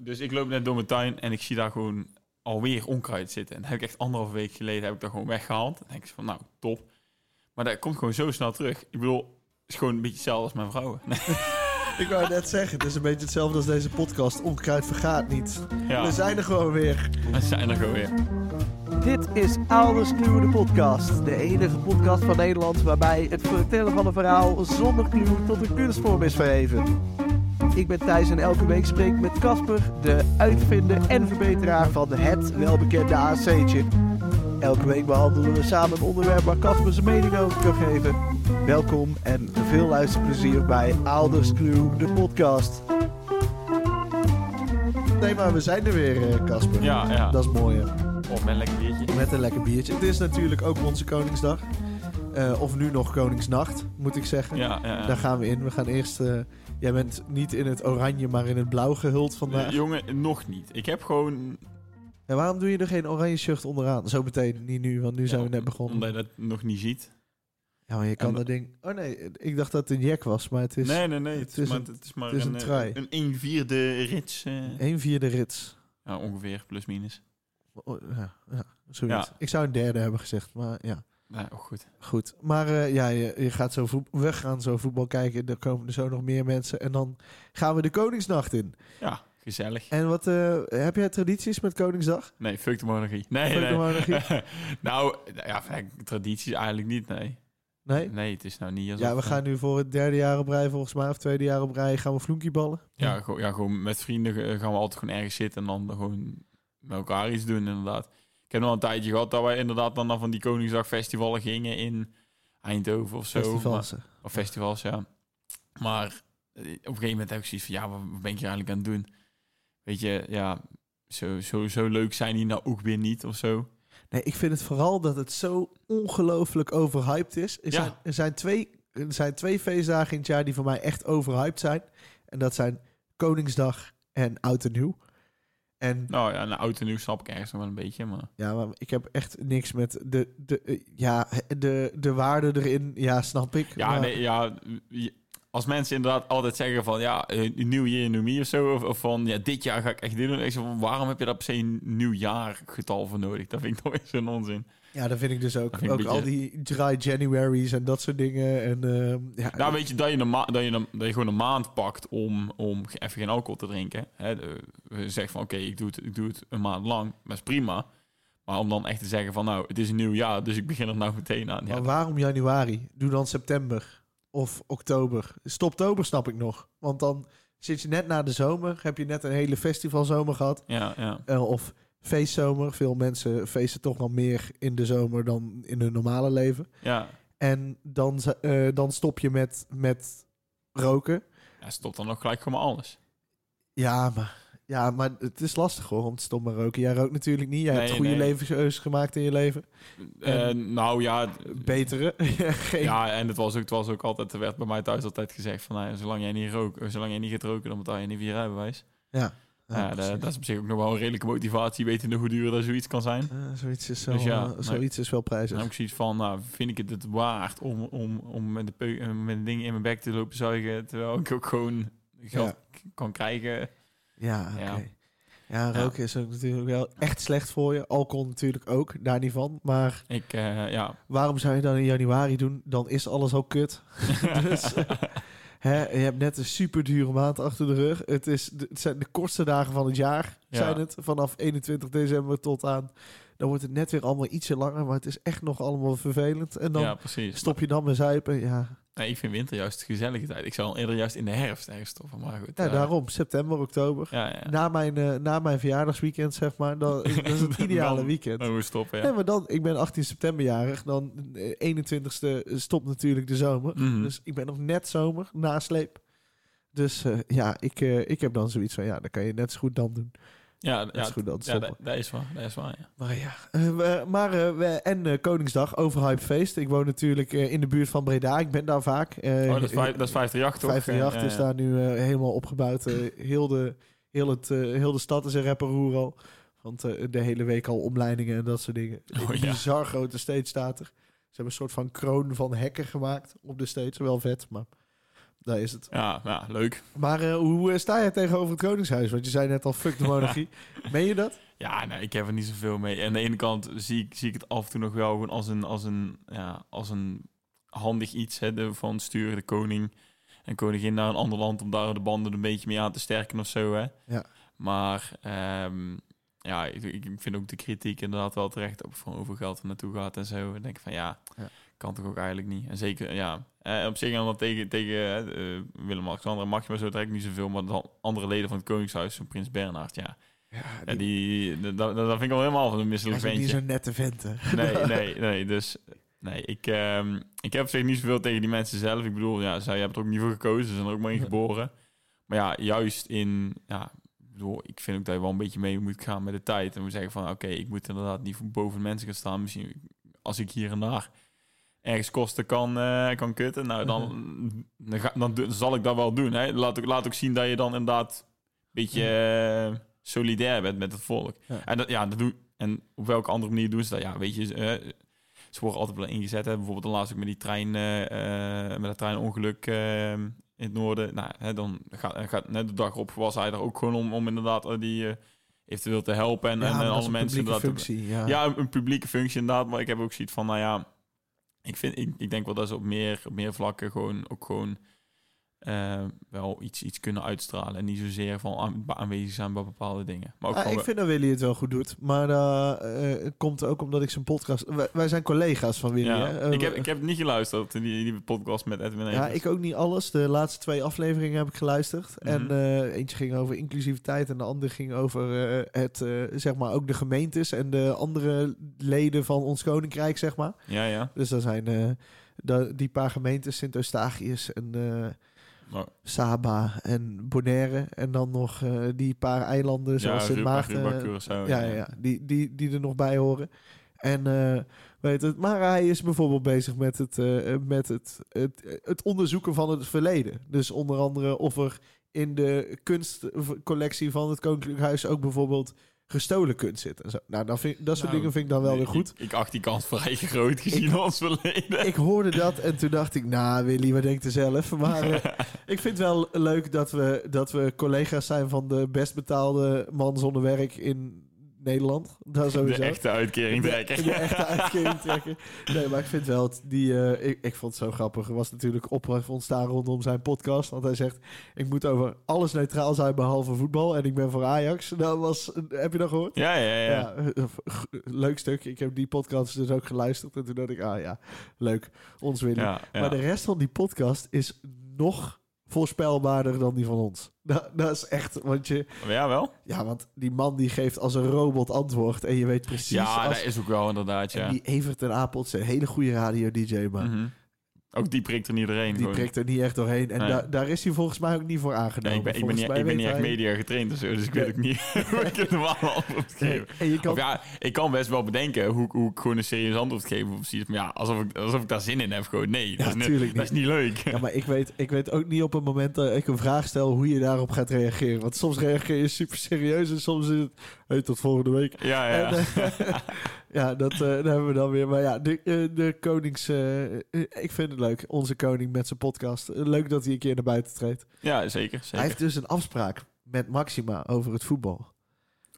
Dus ik loop net door mijn tuin en ik zie daar gewoon alweer onkruid zitten. En dat heb ik echt anderhalf week geleden heb ik dat gewoon weggehaald. En denk ik van, nou, top. Maar dat komt gewoon zo snel terug. Ik bedoel, het is gewoon een beetje hetzelfde als mijn vrouwen. Ik wou net zeggen, het is een beetje hetzelfde als deze podcast. Onkruid vergaat niet. Ja. We zijn er gewoon weer. We zijn er gewoon weer. Dit is Ouders Kluwen de podcast. De enige podcast van Nederland waarbij het vertellen van een verhaal zonder kluw tot een kunstvorm is verheven. Ik ben Thijs en elke week spreek ik met Casper, de uitvinder en verbeteraar van het welbekende AC'tje. Elke week behandelen we samen een onderwerp waar Casper zijn mening over kan geven. Welkom en veel luisterplezier bij Ouders Kluw de podcast. Nee, maar we zijn er weer, eh, Casper. Ja, ja. Dat is mooi. hè. Of met een lekker biertje. Met een lekker biertje. Het is natuurlijk ook onze Koningsdag. Eh, of nu nog Koningsnacht, moet ik zeggen. Ja, ja, ja. Daar gaan we in. We gaan eerst... eh, jij bent niet in het oranje, maar in het blauw gehuld vandaag. Eh, jongen, nog niet. Ik heb gewoon... En waarom doe je er geen oranje shirt onderaan? Zo meteen, niet nu, want nu zijn we net begonnen. Omdat je dat nog niet ziet. Ja, maar je kan En- dat ding... Oh nee, ik dacht dat het een jack was, maar het is nee, nee, nee. Het, is is maar, een- het is maar het is een eh, trui. Een 1 vierde rits. eh, een vierde rits. ja, ongeveer, plus minus. Oh, Ja, ja, zoiets. Ja. Ik zou een derde hebben gezegd, maar ja, Ja, ook goed. goed. Maar eh, ja, je, je gaat zo voet- we gaan zo voetbal kijken. Er komen er zo nog meer mensen. En dan gaan we de Koningsnacht in. Ja, gezellig. En wat eh, heb jij tradities met Koningsdag? Nee, fuck de monarchie. Nee, Fuck de nee. monarchie. nou, ja, fijn, tradities eigenlijk niet, nee. Nee? Nee, het is nou niet alsof... Ja, we gaan nu voor het derde jaar op rij, volgens mij, of tweede jaar op rij, gaan we floenkieballen. Ja, gewoon, ja, gewoon met vrienden eh, gaan we altijd gewoon ergens zitten... en dan gewoon met elkaar iets doen, inderdaad. Ik heb nog een tijdje gehad dat wij inderdaad... dan naar van die Koningsdagfestivalen gingen in Eindhoven of zo. maar- Festivals. Of festivals, ja. Maar eh, op een gegeven moment heb ik zoiets van... ja, wat wat ben ik hier eigenlijk aan het doen? Weet je, ja... Zo, zo, zo leuk zijn die nou ook weer niet of zo. Nee, ik vind het vooral dat het zo ongelooflijk overhyped is. Er, Ja. zijn, er, zijn twee, er zijn twee feestdagen in het jaar die voor mij echt overhyped zijn. En dat zijn Koningsdag en Oud en Nieuw. En Nou ja, een oud en nieuw snap ik ergens nog wel een beetje, maar... ja, maar ik heb echt niks met de, de, eh, ja, de, de waarde erin. Ja, snap ik. Ja, Maar- nee, ja. je- Als mensen inderdaad altijd zeggen van ja, eh, nieuw jaar, nieuw me of zo. Of, of van ja, dit jaar ga ik echt dit doen. Ik zeg van waarom heb je daar per se een nieuw jaargetal voor nodig? Dat vind ik nog eens een onzin. ja, dat vind ik dus ook. Dat Ook vind ik een al die dry Januaries en dat soort dingen. En, ehm, ja, Nou, weet je, dat je, een ma- dat je, een- dat je gewoon een maand pakt om, om even geen alcohol te drinken. Hè, de- we zeggen van oké, ik, doe het- ik doe het een maand lang. Dat is prima. Maar om dan echt te zeggen van nou, het is een nieuw jaar, dus ik begin er nou meteen aan. Ja, Maar waarom januari? Doe dan september of oktober. Stoptober snap ik nog. Want dan zit je net na de zomer. Heb je net een hele festivalzomer gehad. ja, ja. eh, of feestzomer. Veel mensen feesten toch nog meer in de zomer dan in hun normale leven. ja. En dan, z- eh, dan stop je met, met roken. ja stop dan ook gelijk gewoon maar alles. Ja, maar, ja, maar het is lastig hoor om te stoppen met roken. Jij rookt natuurlijk niet. Jij hebt Nee, goede nee. levenskeuzes gemaakt in je leven. Eh, nou ja, Betere. Geen Ja, en het was ook, het was ook altijd, er werd bij mij thuis altijd gezegd van, nou, ja, zolang jij niet rook, eh, zolang jij niet gaat roken, dan betaal je niet voor je rijbewijs. Nou Ja. Ah, Ja, precies. dat, dat is op zich ook nog wel een redelijke motivatie, wetende hoe duur dat zoiets kan zijn. Eh, zoiets is, wel, Dus ja, eh, nee. zoiets is wel En prijzig. dan ook zoiets van, nou, vind ik het het waard om, om, om met, de peu- eh, met dingen in mijn bek te lopen zuigen, terwijl ik ook gewoon geld k- kan krijgen. Ja, oké. Ja. Ja, roken is ook natuurlijk wel echt slecht voor je. Alcohol natuurlijk ook, daar niet van. Maar Ik, eh, ja. waarom zou je dan in januari doen? Dan is alles al kut. Dus, hè, je hebt net een super dure maand achter de rug. Het, is, de- het zijn de kortste dagen van het jaar, Ja. zijn het. Vanaf 21 december tot aan... Dan wordt het net weer allemaal ietsje langer, maar het is echt nog allemaal vervelend. En dan ja, precies. stop je dan met zuipen. Ja, Nee, ik vind winter juist de gezellige tijd. Ik zou al eerder juist in de herfst ergens stoppen, maar goed. eh, ja, Nou, daarom. September, oktober. Ja, ja. Na, mijn, eh, na mijn verjaardagsweekend, zeg maar. Dan, dat is het ideale Dan- weekend. Dan moet je stoppen, ja. Nee, maar dan, ik ben 18 september jarig. Dan eh, 21ste stopt natuurlijk de zomer. Mhm. Dus ik ben nog net zomer, nasleep. Dus eh, ja, ik, eh, ik heb dan zoiets van, ja, dan kan je net zo goed dan doen. ja, Net ja, zo goed dan ja, stoppen. dat, dat is waar, dat is waar, ja. Maar ja, eh, we- maar, eh, we- en eh, Koningsdag, overhyped feest. Ik woon natuurlijk eh, in de buurt van Breda, ik ben daar vaak. Eh, Oh, dat is, vijf, dat is 538 toch? 538 is Ja, ja. daar nu eh, helemaal opgebouwd. Eh, heel, de, heel, het, eh, heel de stad is een rapperoer al. Want eh, de hele week al omleidingen en dat soort dingen. Oh, Een ja. Bizar grote stage staat er. Ze hebben een soort van kroon van hekken gemaakt op de stage. Wel vet, maar... daar is het. Ja, ja leuk. Maar eh, hoe eh, sta jij tegenover het Koningshuis? Want je zei net al, fuck de monarchie. Meen je dat? Ja, nou, ik heb er niet zoveel mee. En aan de ene kant zie ik, zie ik het af en toe nog wel gewoon als een, als een, ja, als een handig iets hè, de- van sturen de koning en koningin naar een ander land om daar de banden een beetje mee aan te sterken of zo. Hè. Ja. Maar ehm, ja, ik, ik vind ook de kritiek inderdaad wel terecht op van hoeveel geld er naartoe gaat en zo. En denk ik van ja, Ja. kan toch ook eigenlijk niet. En zeker, ja, eh, op zich dan tegen, tegen hè, eh, Willem-Alexander mag je maar zo direct niet zoveel, maar dan andere leden van het Koningshuis, zo'n Prins Bernhard, ja. Ja, Ja, die, dat, dat dat vind ik al helemaal van een hij misselijk is ook niet ventje. zo'n nette vent, hè. Nee, nee, nee. Dus nee, ik, ehm, ik heb op zich niet zoveel tegen die mensen zelf. Ik bedoel, ja, zij hebben er ook niet voor gekozen. Ze zijn er ook maar in Nee. geboren. Maar ja, juist in... Ja, ik bedoel, ik vind ook dat je wel een beetje mee moet gaan met de tijd. En moet zeggen van, oké, ik moet inderdaad niet boven de mensen gaan staan. Misschien als ik hier en daar ergens kosten kan, eh, kan kutten. Nou, dan, Mhm. dan, ga- dan doe- zal ik dat wel doen. Hè? Laat, ook, laat ook zien dat je dan inderdaad een beetje eh, solidair bent met het volk. Mhm. Ja. En, dat, ja, dat doe, en op welke andere manier doen ze dat? Ja, weet je, eh, ze worden altijd wel ingezet. Hè? Bijvoorbeeld de laatste ook met die trein, eh, eh, met dat treinongeluk eh, in het noorden. Nou, hè, dan gaat, gaat net de dag op was hij er ook gewoon om, om inderdaad eh, die eh, eventueel te helpen en, Ja, en, maar eh, dat alle is een mensen publieke inderdaad te- functie, ja. ja, een, een publieke functie inderdaad. Maar ik heb ook zoiets van, nou ja, ik, vind, ik, ik denk wel dat ze op meer, op meer vlakken gewoon ook gewoon eh, wel iets, iets kunnen uitstralen. En niet zozeer van aan- aanwezig zijn bij bepaalde dingen. Maar ook Ah, gewoon ik wel- vind dat Willy het wel goed doet. Maar eh, eh, het komt ook omdat ik zijn podcast... Wij, wij zijn collega's van Willy, ja. hè? Eh, ik, heb, ik heb niet geluisterd, die, die podcast met Edwin Ja, Evers. ik ook niet alles. De laatste twee afleveringen heb ik geluisterd. En Mhm. eh, eentje ging over inclusiviteit en de andere ging over eh, het, eh, zeg maar, ook de gemeentes en de andere leden van ons koninkrijk, zeg maar. Ja, ja. Dus daar zijn eh, da- die paar gemeentes, Sint-Eustachius en eh, Maar, Saba en Bonaire. En dan nog eh, die paar eilanden zoals ja, Sint Ruba- Maarten. Ruba Curaçao, eh, ja, ja, ja. Die, die, die er nog bij horen. En eh, weet het, maar hij is bijvoorbeeld bezig met, het, eh, met het, het, het onderzoeken van het verleden. Dus onder andere of er in de kunstcollectie van het Koninklijk Huis ook bijvoorbeeld gestolen kunst zit. En zo. Nou, dat, vind, dat soort Nou, dingen vind ik dan wel Nee, weer goed. Ik, ik acht die kans vrij groot gezien ons verleden. Ik hoorde dat en toen dacht ik, nou Willy, wat denkt er zelf? Maar eh, ik vind wel leuk dat we, dat we collega's zijn van de best betaalde man zonder werk in Nederland. Dat sowieso. de echte uitkering De, trekken. de echte uitkering trekken. Nee, maar ik vind wel, het- die, eh, ik, ik vond het zo grappig. Er was natuurlijk ophef ontstaan rondom zijn podcast. Want hij zegt, ik moet over alles neutraal zijn behalve voetbal. En ik ben voor Ajax. Dat was, heb je dat gehoord? Ja, ja, ja. ja. eh, g- leuk stuk. Ik heb die podcast dus ook geluisterd. En toen dacht ik, ah ja, leuk. Ons winnen. ja, ja. Maar de rest van die podcast is nog voorspelbaarder dan die van ons. Dat, dat is echt, want je... Maar ja, wel. Ja, want die man die geeft als een robot antwoord. En je weet precies Ja, als dat is ook wel inderdaad, ja. en die Evert en Apelt zijn een hele goede radio-dj, maar Mhm. Ook die prikt er niet doorheen. die gewoon. prikt er niet echt doorheen. En Nee. da- daar is hij volgens mij ook niet voor Nee, aangenomen. ik ben, ik ben, Volgens niet, mij ik ben weet niet echt hij- media getraind of zo, dus ik weet Nee. ook niet hoe ik het normaal antwoord Nee, geef. En je kan... Of ja, ik kan best wel bedenken hoe, ik- hoe ik gewoon een serieus antwoord geef. Of precies, maar ja, alsof ik, alsof ik daar zin in heb. Gewoon, nee, dat, is, niet- tuurlijk dat is niet leuk. Ja, maar ik weet, ik weet ook niet op het moment dat ik een vraag stel hoe je daarop gaat reageren. Want soms reageer je super serieus en soms is het... Hey, tot volgende week. Ja, ja. En, eh, ja, dat, eh, dat hebben we dan weer. Maar ja, de, eh, de konings... eh, eh, ik vind het leuk. Onze koning met zijn podcast. Eh, Leuk dat hij een keer naar buiten treedt. ja, zeker. zeker. Hij heeft dus een afspraak met Maxima over het voetbal.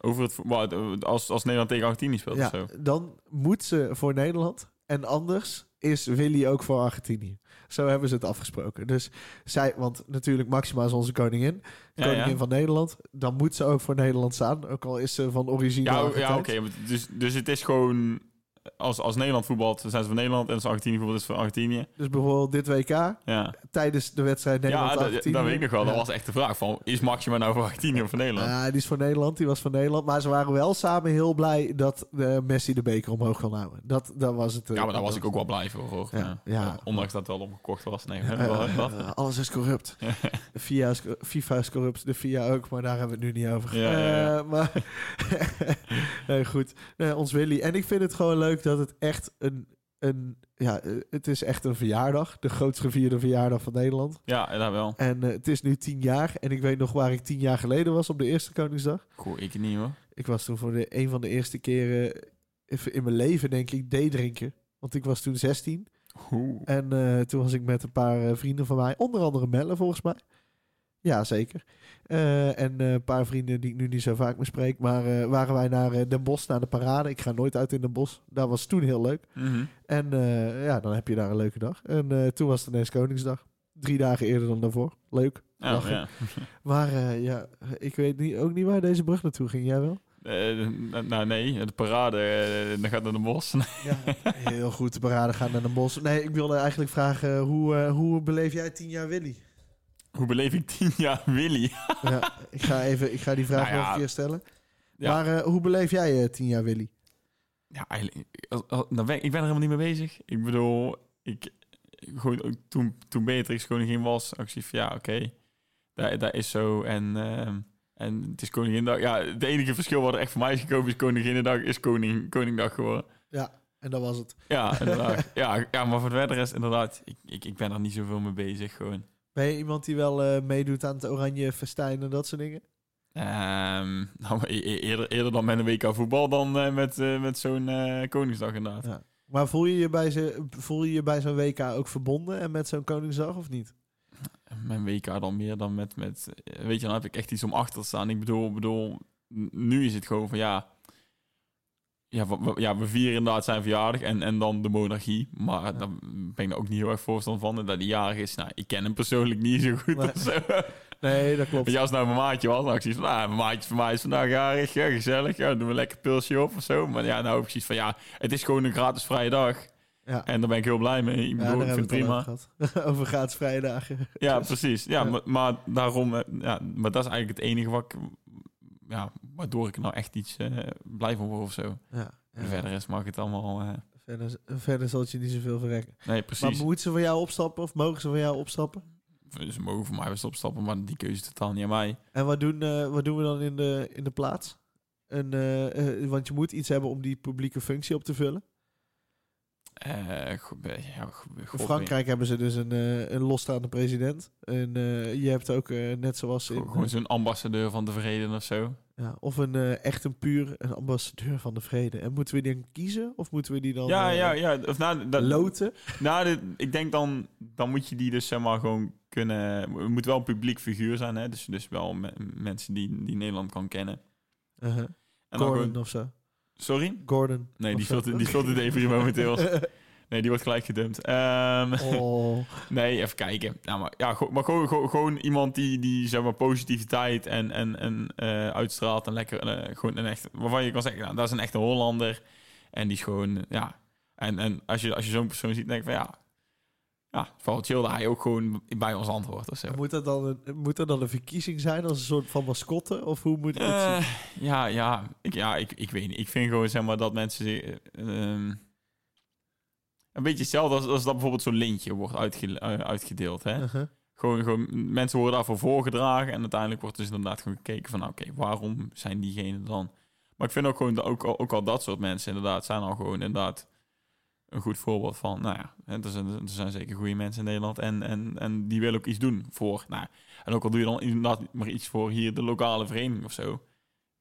Over het, vo- maar als, als Nederland tegen Argentinië speelt of zo. dan moet ze voor Nederland. En anders is Willy ook voor Argentinië. Zo hebben ze het afgesproken. Dus zij, want natuurlijk Maxima is onze koningin. Ja, Koningin ja. van Nederland. Dan moet ze ook voor Nederland staan. Ook al is ze van origine Ja, o- Argentijns. ja oké. maar dus, dus het is gewoon... Als, als Nederland voetbalt, dan zijn ze van Nederland. En als Argentinië voetbalt, is het van Argentinië. Dus bijvoorbeeld dit WK, Ja, tijdens de wedstrijd ja dat, Nederland-Argentinië. dat weet ik nog wel. Dat Ja. was echt de vraag. Van, is Maxima nou van Argentinië of van Nederland? Ah, die is voor Nederland, die was voor Nederland. Maar ze waren wel samen heel blij dat eh, Messi de beker omhoog kon houden. Dat, dat was het. eh, Ja, maar daar was ik ook wel blij voor, hoor. Ja, Ja. ja. Ondanks dat het wel omgekocht was. Nee, we Eh, hebben wel eh, wat. eh, alles is corrupt. De FIA is, co- FIFA is corrupt, de FIA ook, maar daar hebben we het nu niet over. Ja, ja, ja. Eh, maar nee, goed, nee, ons Willy. En ik vind het gewoon leuk dat het echt een, een ja, eh, het is echt een verjaardag. De grootst gevierde verjaardag van Nederland. Ja, daar wel. En eh, het is nu tien jaar en ik weet nog waar ik tien jaar geleden was op de eerste Koningsdag. Goh, ik niet, hoor. Ik was toen voor de, een van de eerste keren even in mijn leven, denk ik, thee drinken. Want ik was toen 16. Oeh. En eh, toen was ik met een paar eh, vrienden van mij, onder andere Melle volgens mij. Ja, zeker. Eh, en eh, een paar vrienden die ik nu niet zo vaak meer spreek. Maar eh, waren wij naar eh, Den Bosch, naar de parade. Ik ga nooit uit in Den Bosch. Dat was toen heel leuk. Mhm. En eh, ja, dan heb je daar een leuke dag. En eh, toen was het ineens Koningsdag. Drie dagen eerder dan daarvoor. Leuk. Ja, Lachen. Oh, ja. Maar eh, ja, ik weet niet, ook niet waar deze brug naartoe ging. Jij wel? Eh, n- nou nee, de parade eh, dan gaat naar de bos. Ja, heel goed. De parade gaat naar Den Bosch. Nee, ik wilde eigenlijk vragen, hoe, eh, hoe beleef jij tien jaar Willy? Hoe beleef ik tien jaar Willy? ja, ik, ga even, ik ga die vraag Nou ja. nog een keer stellen. Ja. Maar eh, hoe beleef jij eh, tien jaar Willy? Ja, eigenlijk, als- als- dan ben, ik- ik ben er helemaal niet mee bezig. Ik bedoel, ik, ik- gewoon, ook toen, toen Beatrix koningin was, ook zoiets van ja, oké, dat, dat is zo. En, ehm, en het is Koninginnedag. Ja, het enige verschil wat er echt voor mij is gekomen is Koninginnedag is koning, Koningdag geworden. En dat was het. Ja, inderdaad. ja, ja, maar voor de verder is inderdaad, ik, ik, ik ben er niet zoveel mee bezig gewoon. Ben je iemand die wel eh, meedoet aan het oranje festijn en dat soort dingen? Ehm, nou, e- e- eerder, eerder dan met een WK voetbal dan eh, met, eh, met zo'n eh, Koningsdag inderdaad. Ja. Maar voel je je bij, ze, voel je je bij zo'n WK ook verbonden en met zo'n Koningsdag of niet? Mijn WK dan meer dan met, met... eh, Weet je, dan heb ik echt iets om achter te staan. Ik bedoel, bedoel n- nu is het gewoon van ja... Ja, wa- wa- ja, we vieren inderdaad zijn verjaardag en, en dan de monarchie. Maar daar ben ik daar ook niet heel erg voorstander van. En dat die jarig is, nou, ik ken hem persoonlijk niet zo goed Nee. of zo. Nee, dat klopt. Maar ja, als nou mijn maatje was, dan had ik zoiets van... Ah, mijn maatje van mij is vandaag jarig, ja, gezellig. Ja, doen we lekker pilsje op of zo. Maar ja, nou heb ik zoiets van ja, het is gewoon een gratis vrije dag. Ja. En daar ben ik heel blij mee. Ik Ja, bedoel, daar ik hebben vind we het het prima. al over gehad. over gaat vrijdagen. Ja, precies. Ja, Ja. Maar, maar daarom, eh, ja, maar dat is eigenlijk het enige wat ik, ja, waardoor ik nou echt iets eh, blij van word of zo. Ja, ja. En Verder is mag ik het allemaal. eh, Verder, verder zal het je niet zoveel verrekken. nee, precies. Maar moeten ze van jou opstappen of mogen ze van jou opstappen? Ze mogen voor mij best opstappen, maar die keuze is totaal niet aan mij. En wat doen, eh, wat doen we dan in de, in de plaats? Een, eh, eh, want je moet iets hebben om die publieke functie op te vullen. Eh, goed, eh, ja, goed, In goed, Frankrijk hebben ze dus een, eh, een losstaande president. En eh, je hebt ook eh, net zoals in, Gewoon gewoon zo'n ambassadeur van de vrede of zo. ja, of een eh, echt een puur een ambassadeur van de vrede. En moeten we die dan kiezen of moeten we die dan Ja, eh, ja, ja. Of nou, dat, loten? nou, dit- ik denk dan, dan moet je die dus zeg maar gewoon kunnen. Het moet wel een publiek figuur zijn, hè? Dus, dus wel me- mensen die, die Nederland kan kennen. Uh-huh. En dan Gordon gewoon- of zo. sorry? Gordon. Nee, of die zo. filter, die filter deed hier momenteel. Nee, die wordt gelijk gedumpt. Ehm, oh, nee, even kijken. Nou, maar ja, go- maar gewoon, gewoon, gewoon iemand die, die zeg maar, positiviteit en, en, en eh, uitstraalt. En lekker, eh, gewoon een echt, waarvan je kan zeggen, nou, dat is een echte Hollander. En die is gewoon, eh, ja. En, en als je, als je zo'n persoon ziet, denk ik van ja. Ja, valt chill dat hij ook gewoon bij ons antwoordt of zo. moet, dat dan een, moet dat dan een verkiezing zijn als een soort van mascotte? Of hoe moet ik het zien? Eh, ja, ja, ik, ja ik, ik weet niet. Ik vind gewoon zeg maar dat mensen zich, eh, ehm, een beetje hetzelfde als, als dat bijvoorbeeld zo'n lintje wordt uitge- eh, uitgedeeld. Hè? Uh-huh. Gewoon, gewoon, mensen worden daarvoor voorgedragen en uiteindelijk wordt dus inderdaad gewoon gekeken van nou, oké, waarom zijn diegenen dan? Maar ik vind ook gewoon, dat- ook, al- ook al dat soort mensen inderdaad zijn al gewoon inderdaad een goed voorbeeld van, nou ja, hè, er zijn, er zijn zeker goede mensen in Nederland en, en, en die willen ook iets doen voor, nou, en ook al doe je dan inderdaad maar iets voor hier de lokale vereniging of zo,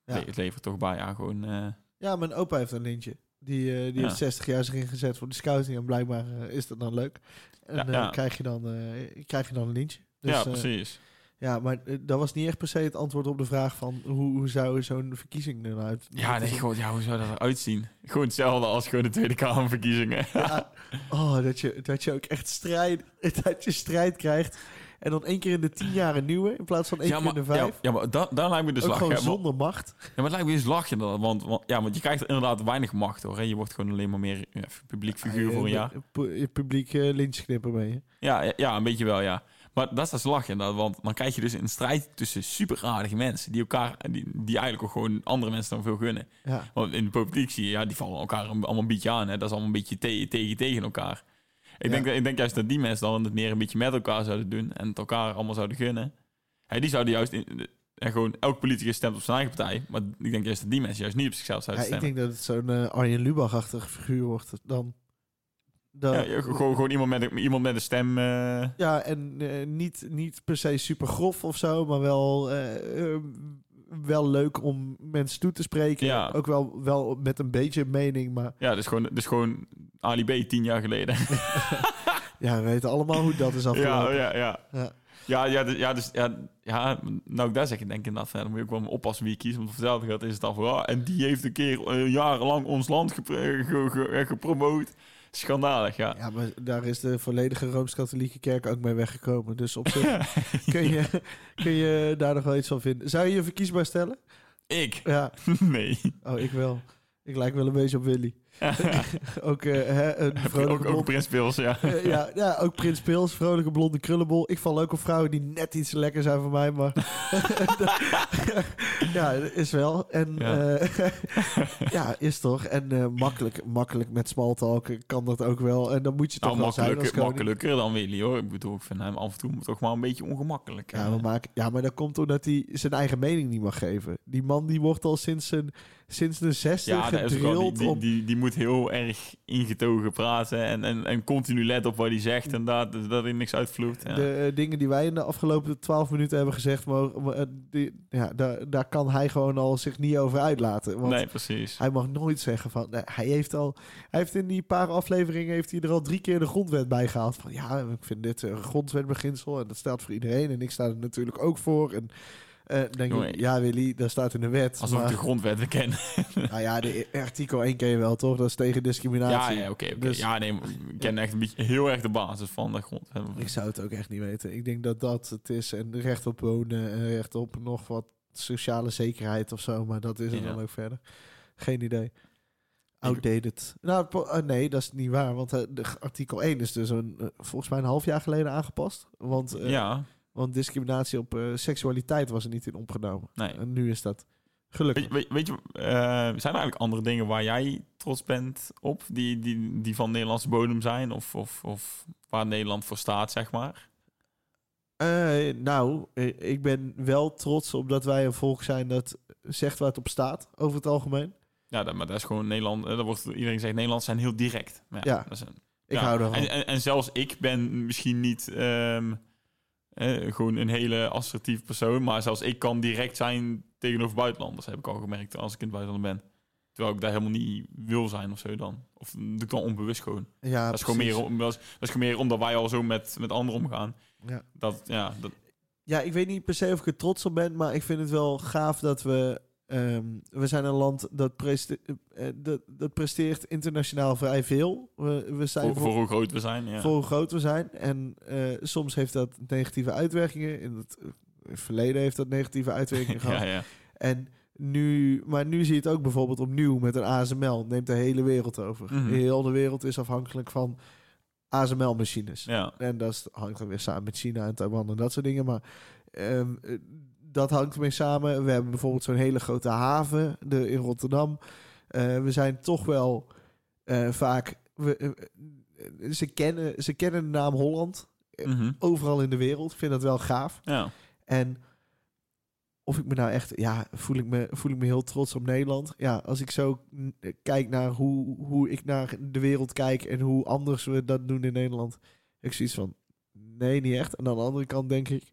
Ja. le- het levert toch bij aan gewoon, eh, Ja, mijn opa heeft een lintje. Die, eh, die Ja. heeft 60 jaar zich ingezet voor de scouting. En blijkbaar eh, is dat dan leuk. En Ja, eh, ja. Krijg, je dan, eh, krijg je dan een lintje. Dus, ja, eh, precies. ja, maar eh, dat was niet echt per se het antwoord op de vraag van... hoe, hoe zou zo'n verkiezing nou eruit ja, nee, dus- gewoon, ja, hoe zou dat eruit zien? Gewoon hetzelfde als gewoon de Tweede Kamerverkiezingen. Ja. Oh, dat je, dat je ook echt strijd, dat je strijd krijgt. En dan één keer in de tien jaar een nieuwe... in plaats van één Ja, keer in de maar, ja, vijf. ja, maar da- daar lijkt me dus ook lachen. gewoon hè, want- zonder macht. Ja, maar het lijkt me eens lachje dan, want, want, ja, want je krijgt inderdaad weinig macht hoor. Hè? Je wordt gewoon alleen maar meer ja, publiek figuur Eh, voor een pu- jaar. pu- Publiek eh, lintjesknipper ben je. Ja, ja, ja, een beetje wel, ja. Maar dat is dus lachje inderdaad, want dan krijg je dus een strijd tussen super aardige mensen die elkaar, die, die eigenlijk ook gewoon andere mensen dan veel gunnen. Ja. Want in de politiek zie je, ja, die vallen elkaar een- allemaal een beetje aan. Hè? Dat is allemaal een beetje te- tegen tegen elkaar. Ik, Ja. denk, dat- ik denk juist dat die mensen dan het meer een beetje met elkaar zouden doen en het elkaar allemaal zouden gunnen. Hè, die zouden juist, in, en gewoon elk politicus stemt op zijn eigen partij, maar ik denk juist dat die mensen juist niet op zichzelf Ja, zouden ik stemmen. denk dat het zo'n eh, Arjen Lubach-achtige figuur wordt dan. Dan- Ja, ja, gewoon, gewoon iemand, met, een- iemand met een stem. eh, Ja, en eh, niet, niet per se super grof of zo, maar wel, eh, eh, wel leuk om mensen toe te spreken. Ja. Ook wel, wel met een beetje mening, maar ja, dus gewoon, dus gewoon Ali B tien jaar geleden. Ja, we weten allemaal hoe dat is ja, afgelopen. ja, ja. Ja. Ja, ja, dus, ja, dus, ja, ja, nou ik daar zeg ik denk ik inderdaad van, ja, dan moet je ook wel oppassen wie je kiest, want vanzelf gaat is het dan van, ja, en die heeft een keer eh, jarenlang ons land gepre- ge- ge- gepromoot. Schandalig, ja. Ja, maar daar is de volledige Rooms-Katholieke Kerk ook mee weggekomen. Dus op zich kun, je, kun je daar nog wel iets van vinden. Zou je je verkiesbaar stellen? Ik? Ja. Nee. Oh, ik wel. Ik lijk wel een beetje op Willy. ook eh, hè, een ook, vrolijke ook blonde... Prins Pils, ja. Eh, ja, ja, ook Prins Pils, vrolijke blonde krullenbol. Ik val ook op vrouwen die net iets lekker zijn voor mij, maar... ja, is wel. En Ja. ja, ja is toch. En eh, makkelijk, makkelijk met smalltalk kan dat ook wel. En dan moet je toch Nou, wel zijn als makkelijker, koning. makkelijker dan Willy, hoor. Ik bedoel, ik vind hem af en toe toch maar een beetje ongemakkelijk. Ja, eh. maar, maak- ja, maar dat komt omdat hij zijn eigen mening niet mag geven. Die man die wordt al sinds, zijn, sinds de zesde Ja, dat is ook wel- gedrild die, die, om... die, die moet heel erg ingetogen praten en, en, en continu let op wat hij zegt en dat, dus dat hij niks uitvloeit. Ja. De eh, dingen die wij in de afgelopen twaalf minuten hebben gezegd, mogen, maar, eh, die, ja, daar, daar kan hij gewoon al zich niet over uitlaten. Want Nee, precies. hij mag nooit zeggen van... nee, hij heeft al... Hij heeft in die paar afleveringen heeft hij er al drie keer de grondwet bij gehaald. Van ja, ik vind dit een grondwetbeginsel en dat staat voor iedereen. En ik sta er natuurlijk ook voor. En eh, dan denk Jongen. ik, ja Willy, dat staat in de wet. Alsof maar- ik de grondwet ken. Nou ja, de artikel 1 ken je wel, toch? Dat is tegen Ja, discriminatie. ja oké. oké. Dus- ja, nee, maar ik ken echt een beetje heel erg de basis van de grondwet. Ik zou het ook echt niet weten. Ik denk dat dat het is. En recht op wonen en recht op nog wat sociale zekerheid of zo. Maar dat is het Ja. dan ook verder. Geen idee. Outdated. Nou, po- eh, nee, dat is niet waar. Want eh, de g- artikel 1 is dus een, eh, volgens mij een half jaar geleden aangepast. Want, eh, ja, want discriminatie op eh, seksualiteit was er niet in opgenomen. nee. En nu is dat gelukkig. Weet, je- weet, weet je, eh, zijn er eigenlijk andere dingen waar jij trots bent op, die, die, die van Nederlandse bodem zijn of, of, of waar Nederland voor staat, zeg maar? Eh, nou, eh, ik ben wel trots op dat wij een volk zijn dat zegt waar het op staat, over het algemeen. Ja, dat, maar dat is gewoon Nederland. eh, Dat wordt, iedereen zegt Nederland zijn heel direct. Maar Ja. dat is een- Ik Ja, hou ervan. En, en, en zelfs ik ben misschien niet ehm, eh, gewoon een hele assertief persoon, maar zelfs ik kan direct zijn tegenover buitenlanders, heb ik al gemerkt als ik in het buitenland ben. Terwijl ik daar helemaal niet wil zijn of zo dan. Of mm, doe ik dan onbewust gewoon. ja, dat, is gewoon meer, precies. om- dat, is, dat is gewoon meer omdat wij al zo met, met anderen omgaan. Ja. Dat, ja, dat, Ja, ik weet niet per se of ik er trots op ben, maar ik vind het wel gaaf dat we... ehm, we zijn een land dat, preste- eh, dat, dat presteert internationaal vrij veel. We, we zijn voor, voor hoe groot we zijn. Ja. voor hoe groot we zijn. En eh, soms heeft dat negatieve uitwerkingen. In het, eh, verleden heeft dat negatieve uitwerkingen gehad. ja, ja. En nu, maar nu zie je het ook bijvoorbeeld opnieuw met een ASML. Neemt de hele wereld over. Mhm. Heel de wereld is afhankelijk van ASML-machines. Ja. En dat is- hangt dan weer samen met China en Taiwan en dat soort dingen. Maar ehm, eh, dat hangt ermee samen. We hebben bijvoorbeeld zo'n hele grote haven de, in Rotterdam. Eh, we zijn toch wel eh, vaak. We, eh, ze, kennen, ze kennen de naam Holland Mhm. overal in de wereld. Ik vind dat wel gaaf. ja. En of ik me nou echt, ja, voel ik me, voel ik me heel trots op Nederland. Ja, als ik zo mm, kijk naar hoe, hoe ik naar de wereld kijk en hoe anders we dat doen in Nederland. Ik zoiets van, nee, niet echt. En aan de andere kant denk ik,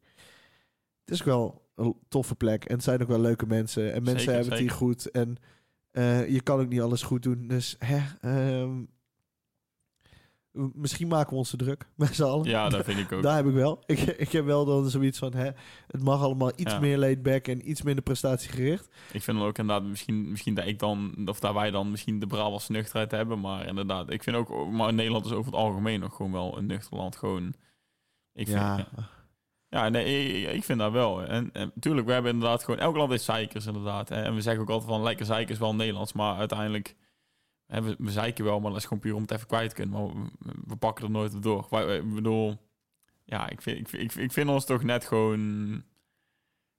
het is ook wel een toffe plek. En het zijn ook wel leuke mensen. En mensen Zeker, hebben het hier goed. En eh, je kan ook niet alles goed doen. Dus, hè, ehm, misschien maken we ons te druk met z'n allen. ja, dat vind ik ook. Daar heb ik wel. Ik, ik heb wel dan zoiets van, hè, het mag allemaal iets Ja. meer laid back en iets minder prestatiegericht. Ik vind dan ook inderdaad, misschien, misschien dat ik dan, of dat wij dan misschien de Brabantse nuchterheid hebben, maar inderdaad, ik vind ook, maar Nederland is over het algemeen nog gewoon wel een nuchter land, gewoon. Ik vind, ja. ja, nee, ik, ik vind dat wel. En, en natuurlijk, we hebben inderdaad gewoon, elk land heeft zeikers inderdaad. En, en we zeggen ook altijd van, lekker zeikers wel Nederlands, maar uiteindelijk, hè, we, we zeiken wel, maar dat is gewoon puur om het even kwijt te kunnen, maar we, we pakken er nooit op door. Wij- wij- Ik bedoel, ja, ik vind, ik, vind- ik, vind- ik vind ons toch net gewoon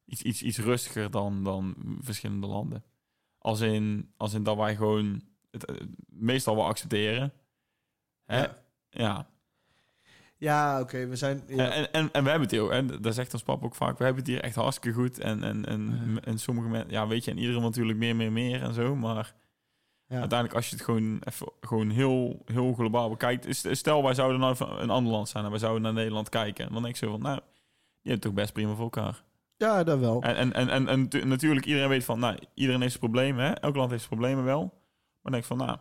iets, iets, iets rustiger dan, dan verschillende landen. Als in, als in dat wij gewoon het eh, meestal wel accepteren. Hè? Ja. Ja. Ja, oké, we zijn... Ja. En, en, en we hebben het heel, en dat zegt ons papa ook vaak, we hebben het hier echt hartstikke goed. En, en, en, Ja. en sommige mensen, ja, weet je, en iedereen wil natuurlijk meer, meer, meer en zo. Maar ja. uiteindelijk, als je het gewoon, even, gewoon heel, heel globaal bekijkt. is- Stel, wij zouden nou van een ander land zijn en wij zouden naar Nederland kijken. En dan denk ik zo van, nou, je hebt het toch best prima voor elkaar. ja, dat wel. En, en, en, en, en natu- natuurlijk, iedereen weet van, nou, iedereen heeft zijn problemen. Hè? Elk land heeft zijn problemen wel. Maar dan denk ik van, nou,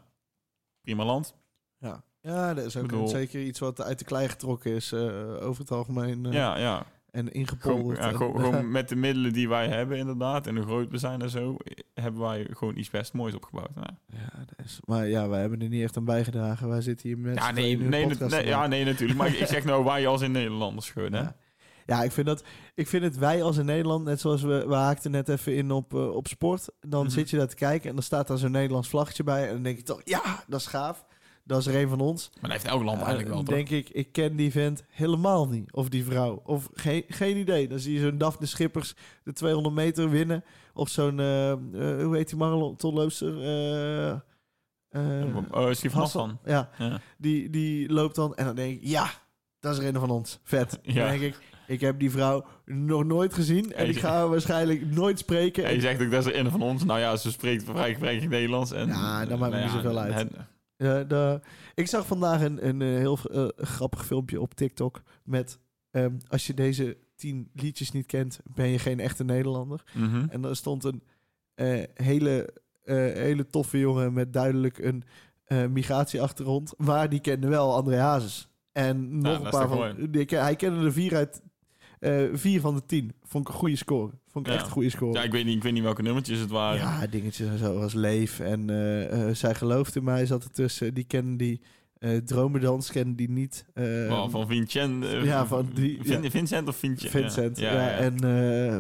prima land. Ja. ja, dat is ook bedoel- zeker iets wat uit de klei getrokken is eh, over het algemeen. eh, Ja, ja. En Gewoon, ingepolderd. ja, en- gewoon, gewoon met de middelen die wij hebben, inderdaad. En hoe groot we zijn en zo, eh, hebben wij gewoon iets best moois opgebouwd. Nou, Ja, Ja, dat is- maar ja, wij hebben er niet echt aan bijgedragen. Wij zitten hier met ja, z'n nee, tweeën nu nee, een nee, podcast te ja, maken. nee, natuurlijk. Maar ik- ik zeg nou wij als in Nederlanders gewoon, hè. Ja. Ja, ik vind, dat, ik vind het wij als in Nederland, net zoals we, we haakten net even in op, eh, op sport. Dan Mhm. zit je daar te kijken en dan staat daar zo'n Nederlands vlaggetje bij. En dan denk ik toch, ja, dat is gaaf. Dat is er een van ons. Maar dat heeft elk land Ja, eigenlijk wel, dan toch? denk ik, ik ken die vent helemaal niet. Of die vrouw. Of geen, geen idee. Dan zie je zo'n Daphne Schippers de 200 meter winnen. Of zo'n, eh, eh, hoe heet die marathonloopster? Eh, eh, Eh, Schief Hassel. Hassan. Ja, Ja. die, die loopt dan en dan denk ik, ja, dat is er een van ons. Vet. Ja. Dan denk ik, ik heb die vrouw nog nooit gezien en Hey, ik ze- ga haar waarschijnlijk nooit spreken. Ja, En- je zegt ook dat ze een van ons, nou ja, ze spreekt vrij gebrekkig Nederlands. En, Ja, dat maakt me nou ja, niet zoveel uit. het- Ja, de- ik zag vandaag een, een eh, heel eh, grappig filmpje op TikTok met ehm, als je deze tien liedjes niet kent, ben je geen echte Nederlander. mhm. En daar stond een eh, hele, eh, hele toffe jongen met duidelijk een eh, migratieachtergrond. Maar die kende wel André Hazes. En nog dat een is paar toch van... mooi. Die, ken- hij kende er vier uit... eh, vier van de tien. Vond ik een goede score. Vond ik Ja. echt een goede score. ja, ik weet niet, ik weet niet welke nummertjes het waren. Ja, dingetjes en zo als Leef. En eh, eh, Zij gelooft in mij zat ertussen. Die kennen die eh Dromedans, kennen die niet. Eh, Wel, van Vincent. eh, ja, van die- Vin- ja. Vincent of Vincent? Vincent. Ja, Ja, ja, ja. En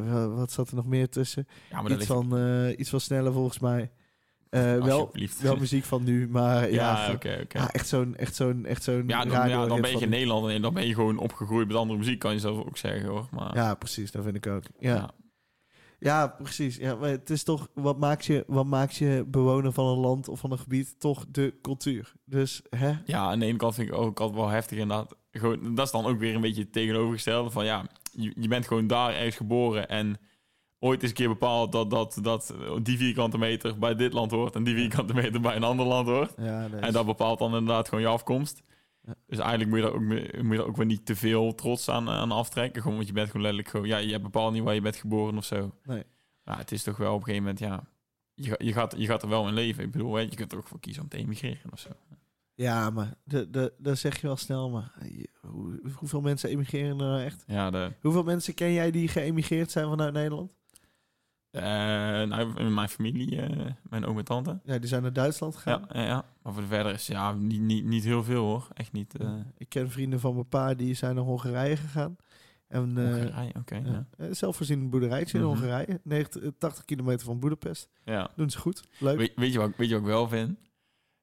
eh, wa- wat zat er nog meer tussen? Ja, maar dat Iets is van, eh, iets van sneller volgens mij. Eh, wel, alsjeblieft. wel muziek van nu, maar ja, ja, voor- oké, oké. ah, echt zo'n echt zo'n echt zo'n Ja, dan, radio ja, dan ben je van geen nu. Nederlander en dan ben je gewoon opgegroeid met andere muziek, kan je zelf ook zeggen hoor. Maar, Ja, precies, dat vind ik ook. Ja, ja. ja. precies. Ja, maar het is toch wat maakt je wat maakt je bewoner van een land of van een gebied toch de cultuur. Dus hè? Ja, aan de ene kant vind ik ook altijd wel heftig inderdaad. Gewoon, dat is dan ook weer een beetje het tegenovergestelde van ja, je, je bent gewoon daar ergens geboren en ooit is een keer bepaald dat, dat, dat die vierkante meter bij dit land hoort en die vierkante meter bij een ander land hoort. Ja, dat is- En dat bepaalt dan inderdaad gewoon je afkomst. Ja. Dus eigenlijk moet je daar ook, mee- moet je daar ook weer niet te veel trots aan, eh, aan aftrekken. Gewoon, want je bent gewoon letterlijk gewoon... Ja, je bepaalt niet waar je bent geboren of zo. Nee. Ja, het is toch wel op een gegeven moment, ja... Je, ga- je, gaat, je gaat er wel in leven. Ik bedoel, hè, je kunt er ook voor kiezen om te emigreren of zo. Ja, maar de, de, dat zeg je wel snel, maar je- hoe, hoeveel mensen emigreren er nou echt? Ja, de, Hoeveel mensen ken jij die geëmigreerd zijn vanuit Nederland? eh, nou, in mijn familie, eh, mijn oom en tante. Ja, die zijn naar Duitsland gegaan. Ja, ja, ja. Maar voor de verder is ja, niet, niet, niet heel veel hoor. Echt niet. eh Ik ken vrienden van mijn pa die zijn naar Hongarije gegaan. En, eh, Hongarije, oké. ja. ja, zelfvoorzienend boerderijtje Mhm. in Hongarije, 90, eh, 80 kilometer van Boedapest. ja. Doen ze goed, leuk. Weet, weet, je wat, ik- weet je wat ik wel vind?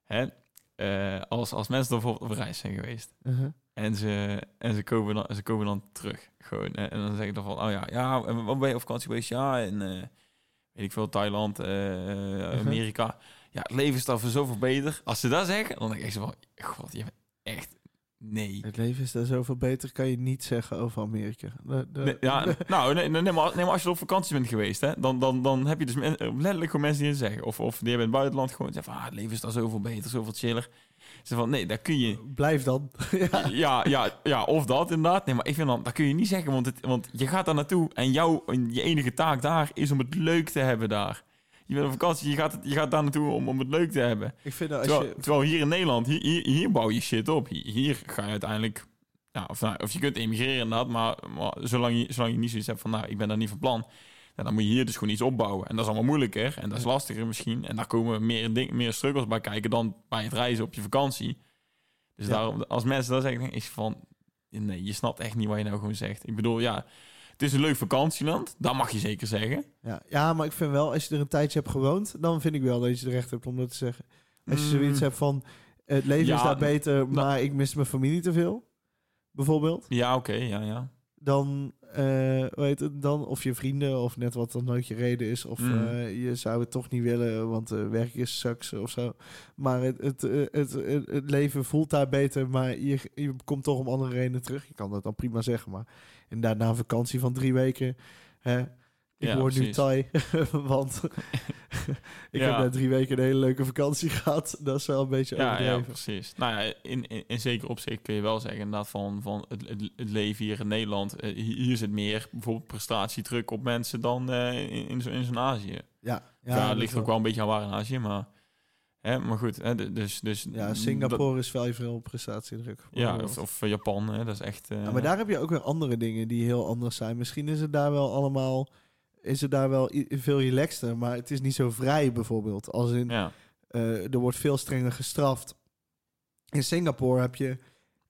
Hè? Eh, als, als mensen dan bijvoorbeeld op reis zijn geweest Uh-huh. en ze, en ze, komen, dan, ze komen dan terug. Gewoon, en, en dan zeg ik dan van, oh ja, ja en waar ben je op vakantie geweest? Ja, en eh, weet ik veel, Thailand, eh, eh, Amerika. Ja, het leven is daar voor zoveel beter. Als ze dat zeggen, dan denk ik echt zo van, god, je bent echt, nee. Het leven is daar zoveel beter, kan je niet zeggen over Amerika. De- de- Nee, ja, nou, nee, nee, nee, maar, nee, maar als je op vakantie bent geweest, hè, dan, dan, dan heb je dus men- letterlijk gewoon mensen die het zeggen. Of, of die hebben in het buitenland gewoon zeggen van, ah, het leven is daar zoveel beter, zoveel chiller. Ze van, nee, daar kun je... Blijf dan. ja. Ja, ja, ja, of dat inderdaad. Nee, maar ik vind dan, dat kun je niet zeggen, want, het, want je gaat daar naartoe en jouw, en je enige taak daar is om het leuk te hebben daar. Je bent op vakantie, je gaat, het- je gaat daar naartoe om, om het leuk te hebben. Ik vind dat als Terwijl, je terwijl hier in Nederland, hier, hier, hier bouw je shit op. Hier, hier ga je uiteindelijk... Ja, of, nou, of je kunt emigreren inderdaad, maar, maar zolang, je, zolang je niet zoiets hebt van... nou, ik ben daar niet van plan, ja, dan moet je hier dus gewoon iets opbouwen. En dat is allemaal moeilijker en dat is lastiger misschien. En daar komen meer, ding, meer struggles bij kijken dan bij het reizen op je vakantie. Dus Ja. daarom, als mensen dat zeggen, denk ik van... nee, je snapt echt niet wat je nou gewoon zegt. Ik bedoel, ja, het is een leuk vakantieland, dat mag je zeker zeggen. Ja, ja, maar ik vind wel, als je er een tijdje hebt gewoond, dan vind ik wel dat je het recht hebt om dat te zeggen. Als je Mm. zoiets hebt van, het leven is Ja, nou- daar beter, maar ik mis mijn familie te veel, bijvoorbeeld. Ja, oké, ja, ja. Dan, weet het, dan, of je vrienden, of net wat dan ook je reden is. Of Mm. eh, je zou het toch niet willen, want eh, werk is sucks of zo. Maar het, het, eh, het, het, het leven voelt daar beter, maar je, je komt toch om andere redenen terug. Je kan dat dan prima zeggen, maar en daarna een vakantie van drie weken... Hè, ik Ja, hoor nu precies. Thai, want ik Ja. heb na drie weken een hele leuke vakantie gehad. Dat is wel een beetje Ja, ja, overdreven. precies. Nou ja, in, in, in zeker opzicht kun je wel zeggen inderdaad van, van het, het, het leven hier in Nederland. eh, hi- hier zit meer bijvoorbeeld prestatiedruk op mensen dan eh, in, in, zo- in zo'n Azië. Ja, Ja, dat het ligt wel. ook wel een beetje aan waar in Azië, maar... Hè, maar goed, hè, d- dus, dus... Ja, dat- Singapore is wel veel prestatiedruk. ja, of, of Japan, hè, dat is echt... eh, Ja, maar daar heb je ook weer andere dingen die heel anders zijn. Misschien is het daar wel allemaal... Is het daar wel i- veel relaxter, maar het is niet zo vrij bijvoorbeeld. Als in, Ja, eh, er wordt veel strenger gestraft. In Singapore heb je,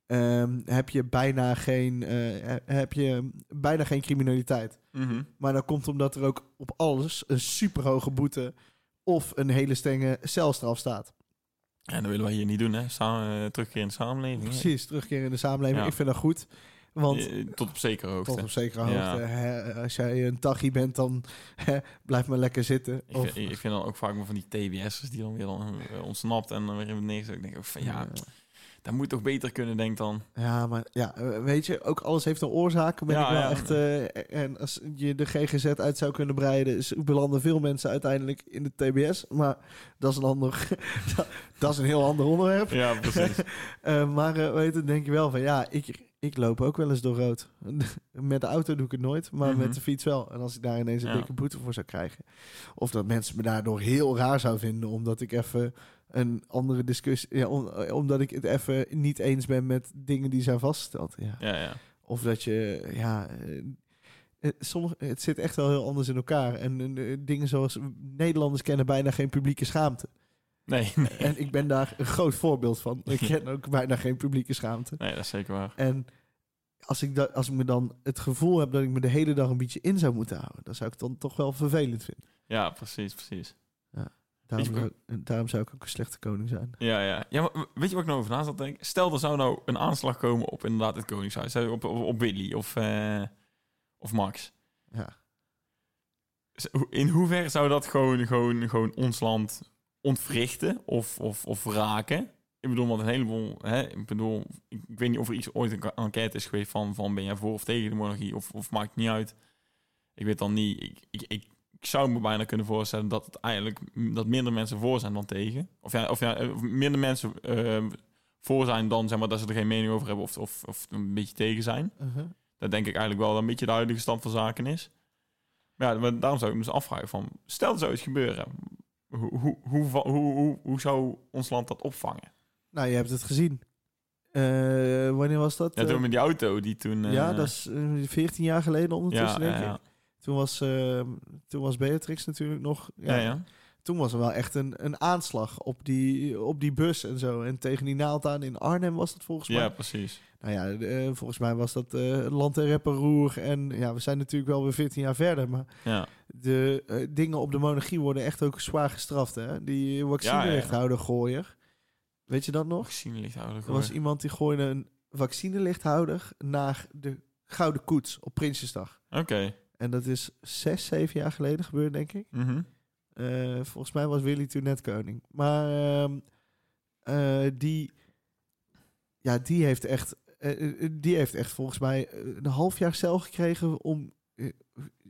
ehm, heb je, bijna, geen, eh, heb je bijna geen criminaliteit. Mhm. Maar dat komt omdat er ook op alles een superhoge boete of een hele strenge celstraf staat. ja dat willen wij hier niet doen, hè. Samen, eh, terugkeer in de samenleving. hè. Precies, terugkeren in de samenleving. Ja. Ik vind dat goed. Want Eh, tot op zekere hoogte. tot op zekere hoogte, Ja. hè, als jij een taggie bent, dan hè, blijf maar lekker zitten. Ik, Of, vind, ik vind dan ook vaak maar van die TBS'ers die dan weer dan, eh, ontsnapt en dan weer in neergezet. Ik denk ook van ja, dat moet toch beter kunnen, denk dan. eh, Ja, maar ja, eh, weet je, ook alles heeft een oorzaak. Ben Ja, ik wel ja. echt, eh, en als je de GGZ uit zou kunnen breiden, is, belanden veel mensen uiteindelijk in de TBS. Maar dat is een ander, dat- dat is een heel ander onderwerp. Ja, precies. Eh, maar eh, weet je, dan denk je wel van ja, ik, ik loop ook wel eens door rood. met de auto doe ik het nooit, maar Mhm. met de fiets wel. En als ik daar ineens een Ja. dikke boete voor zou krijgen. Of dat mensen me daardoor heel raar zou vinden, omdat ik even een andere discussie. Ja, om- eh, omdat ik het even niet eens ben met dingen die zijn vastgesteld. Ja. ja, ja. Of dat je, ja. eh, eh, Sommige, het zit echt wel heel anders in elkaar. En eh, dingen zoals Nederlanders kennen bijna geen publieke schaamte. Nee, nee, En ik ben daar een groot voorbeeld van. Ik ken ook bijna geen publieke schaamte. nee, dat is zeker waar. En als ik, da- als ik me dan het gevoel heb dat ik me de hele dag een beetje in zou moeten houden, dan zou ik het dan toch wel vervelend vinden. Ja, precies, precies. Daarom, Weet je zou, en daarom zou ik ook een slechte koning zijn. Ja, ja. ja maar weet je wat ik nou over na zat te denken? Stel, er zou nou een aanslag komen op inderdaad het Koningshuis. hè, Op, op, op Willy of, eh, of Max. Ja. Z- hoe- In hoeverre zou dat gewoon, gewoon, gewoon ons land ontwrichten of, of, of raken? Ik bedoel, want een heleboel... Hè, ik bedoel, ik ik weet niet of er iets ooit een ka- enquête is geweest van... van ben jij voor of tegen de monarchie of, of maakt niet uit. Ik weet dan niet... Ik, ik, ik, ik zou me bijna kunnen voorstellen dat het eigenlijk... m- dat minder mensen voor zijn dan tegen. Of ja, of ja eh, of minder mensen eh, voor zijn dan, zeg maar... dat ze er geen mening over hebben of, of, of een beetje tegen zijn. Dat denk ik eigenlijk wel dat een beetje de huidige stand van zaken is. Maar, ja, maar daarom zou ik me dus afvragen van... Stel er zou iets gebeuren. Hoe, hoe, hoe, va- hoe, hoe, hoe zou ons land dat opvangen? Nou, je hebt het gezien. Eh, wanneer was dat? Ja, Eh, toen met die auto die toen... eh, ja, dat is eh, 14 jaar geleden ondertussen, ja, denk ik. ja, Toen, was, eh, toen was Beatrix natuurlijk nog. Ja, ja. Toen was er wel echt een, een aanslag op die, op die bus en zo. En tegen die naald aan in Arnhem was dat volgens mij. Ja, precies. Nou ja, de- eh, volgens mij was dat eh, land en rapper roer. En ja, we zijn natuurlijk wel weer 14 jaar verder. Maar Ja, de eh, dingen op de monarchie worden echt ook zwaar gestraft. Hè? Die Ja, ja. vaccinelichthouder gooier. Weet je dat nog? vaccinelichthouder. Er was iemand die gooide een vaccinelichthouder naar de Gouden Koets op Prinsjesdag. Oké. En dat is zes, zeven jaar geleden gebeurd, denk ik. Mhm. Eh, volgens mij was Willy toen net koning. Maar ehm, eh, die, ja, die, heeft echt, eh, eh, die heeft echt volgens mij eh, een half jaar cel gekregen om eh,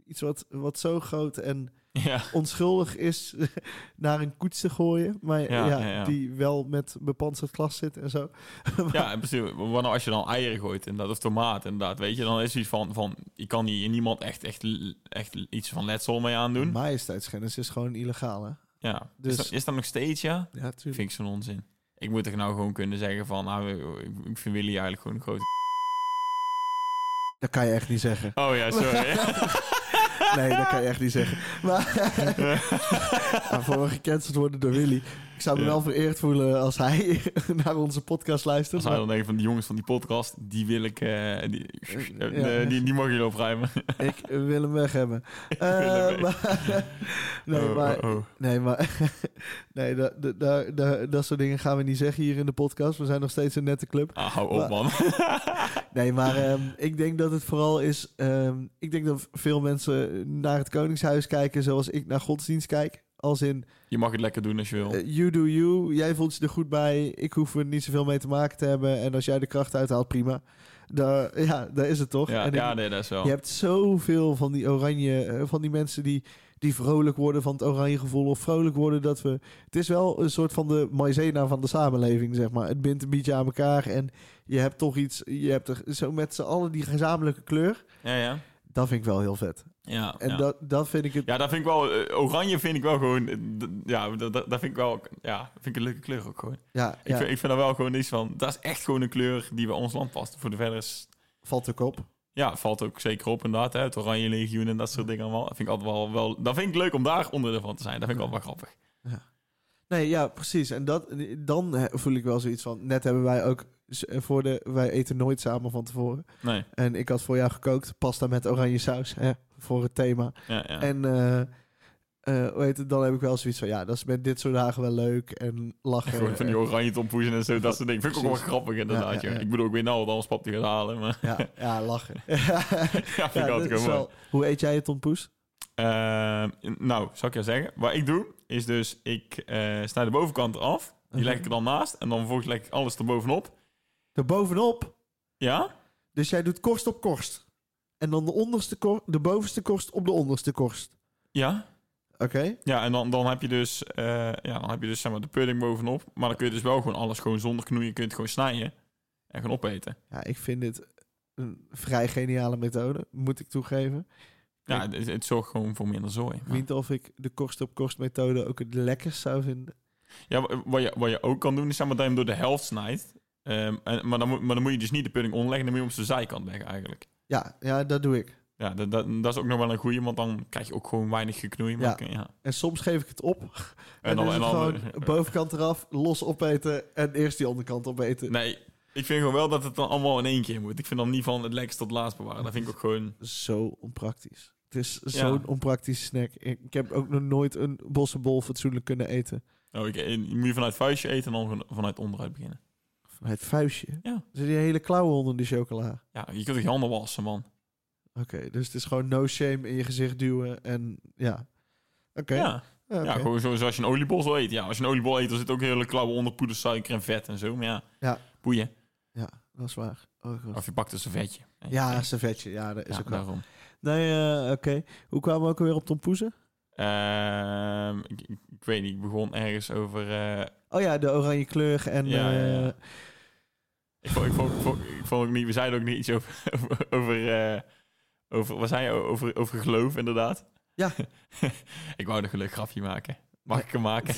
iets wat, wat zo groot en Ja, onschuldig is naar een koets te gooien. Maar ja, Ja, ja, ja. die wel met bepantserd glas zit en zo. ja, en precies. Wat nou als je dan eieren gooit inderdaad, of tomaat inderdaad, weet je, dan is iets van, van je kan hier niemand echt, echt, echt iets van letsel mee aandoen. Majesteitsschennis is gewoon illegaal, hè? Ja. Dus- Is, dat, is dat nog steeds, ja? Ja, tuurlijk. Vind ik zo'n onzin. Ik moet toch nou gewoon kunnen zeggen van, nou, ik, ik vind Willy eigenlijk gewoon een grote... Dat kan je echt niet zeggen. Oh ja, sorry. Nee, dat kan je echt niet zeggen. Maar ja, voor we gecanceld worden door Willy. Ik zou me Ja. wel vereerd voelen als hij naar onze podcast luistert. Als hij Maar dan denkt van, die jongens van die podcast, die wil ik... eh, die, Ja. eh, die, die mag jullie opruimen. ik wil hem weg hebben. Eh, hem weg. maar- nee, Oh, maar, oh, oh. nee, maar nee, da, da, da- da- dat soort dingen gaan we niet zeggen hier in de podcast. We zijn nog steeds een nette club. Ah, hou op, man. Nee, maar ehm, ik denk dat het vooral is. ehm, ik denk dat veel mensen naar het Koningshuis kijken zoals ik naar godsdienst kijk. Als in, Je mag het lekker doen als je wil. Eh, you do you. Jij voelt je er goed bij. Ik hoef er niet zoveel mee te maken te hebben. En als jij de kracht uithaalt, prima. Daar, ja, daar is het toch? Ja, en ik- ja nee, dat is wel. je hebt zoveel van die oranje, eh, van die mensen die, die vrolijk worden van het oranje gevoel of vrolijk worden dat we. Het is wel een soort van de maizena van de samenleving, zeg maar. Het bindt een beetje aan elkaar en je hebt toch iets. Je hebt er zo met z'n allen die gezamenlijke kleur. Ja, ja. Dat vind ik wel heel vet. Ja, En ja. dat, dat vind ik het... ja, dat vind ik wel... eh, oranje vind ik wel gewoon... eh, d- ja, dat, dat dat vind ik wel... Ja, vind ik een leuke kleur ook gewoon. Ja, Ik, ja, vind, ik vind er wel gewoon iets van... Dat is echt gewoon een kleur die bij ons land past. Voor de verder is... valt ook op. Ja, valt ook zeker op inderdaad. Hè, het Oranje Legioen en dat soort dingen allemaal. Dat vind ik altijd wel... wel dat vind ik leuk om daar onderdeel van te zijn. Dat vind ik altijd wel grappig. Nee, ja, precies. En dat, dan eh, voel ik wel zoiets van... Net hebben wij ook z- eh, voor de... Wij eten nooit samen van tevoren. Nee, En ik had voor jou gekookt pasta met oranje saus. Hè, voor het thema. ja, ja. En eh, eh, hoe heet het, dan heb ik wel zoiets van... Ja, dat is met dit soort dagen wel leuk. En lachen. Gewoon van die oranje tompoezen en zo, dat soort dingen. Vind ik ook wel eh, Precies. grappig inderdaad. Ja, ja, joh. ja. Ik bedoel, ik weet nou wat anders pap te gaan halen, maar... Ja, ja, lachen. Ja, vind Ja, ik dat altijd gewoon is mooi. wel- hoe eet jij het, Tom Poes? Ehm, nou, zal ik je zeggen. Wat ik doe, is dus... Ik eh snij de bovenkant eraf. Die Mhm. leg ik er dan naast. En dan vervolgens leg ik alles erbovenop. Erbovenop. Ja? Dus jij doet korst op korst. En dan de, onderste kor- de bovenste korst op de onderste korst. Ja? Oké? Ja, en dan, dan heb je dus... eh, ja, dan heb je dus zeg maar de pudding bovenop. Maar dan kun je dus wel gewoon alles gewoon zonder knoeien. Kun je het gewoon snijden. En gewoon opeten. Ja, ik vind dit een vrij geniale methode, moet ik toegeven. Ja, het, het zorgt gewoon voor minder zooi. Ik weet niet of ik de korst op korst methode ook het lekkerst zou vinden. Ja, wa- wat je, wat je ook kan doen, is zeg maar dat je hem door de helft snijdt. Ehm, en, maar, dan moet, maar dan moet je dus niet de pudding omleggen, dan moet je hem op zijn zijkant leggen eigenlijk. Ja, ja, dat doe ik. Ja, dat, dat, dat is ook nog wel een goeie, want dan krijg je ook gewoon weinig geknoei. Maar Ja. kun- ja. En soms geef ik het op. En, En dan, dan, en dan, gewoon bovenkant eraf, los opeten en eerst die onderkant opeten. nee, ik vind gewoon wel dat het dan allemaal in één keer moet. Ik vind dan niet van het lekkerst tot laatst bewaren. Dat vind ik ook gewoon... Zo onpraktisch. Het is zo'n onpraktische snack. Ik ik heb ook nog nooit een bossenbol fatsoenlijk kunnen eten. Oh, ik, en je moet je vanuit vuistje eten en dan van- vanuit onderuit beginnen. Met het vuistje. Ja. Er zit die hele klauwen onder die chocola. Ja, je kunt toch je handen wassen, man. Oké, dus het is gewoon no shame in je gezicht duwen en ja. Oké. Ja, Ja, oké. ja gewoon zo, zoals je een oliebol zou eten. Ja, als je een oliebol eet, dan zit ook hele klauwen onder poedersuiker en vet en zo. Maar ja, Ja. boeien. Ja, dat is waar. Oh, God. Of je pakt dus een servetje. Ja, servetje. Ja, dat is Ja, ook wel. daarom. Nee, eh, oké. Hoe kwamen we ook alweer op Tom Poezen? Ehm, ik, ik- ik weet niet, ik begon ergens over... eh, Oh ja, de oranje kleur en... Ja, ja, ja. eh, ik, vond, ik, vond, ik, vond, ik vond ook niet... We zeiden ook niet iets over... Over, over, eh, over wat zei je? Over, over geloof, inderdaad. Ja. ik wou nog een leuk grafje maken. Mag ik hem maken?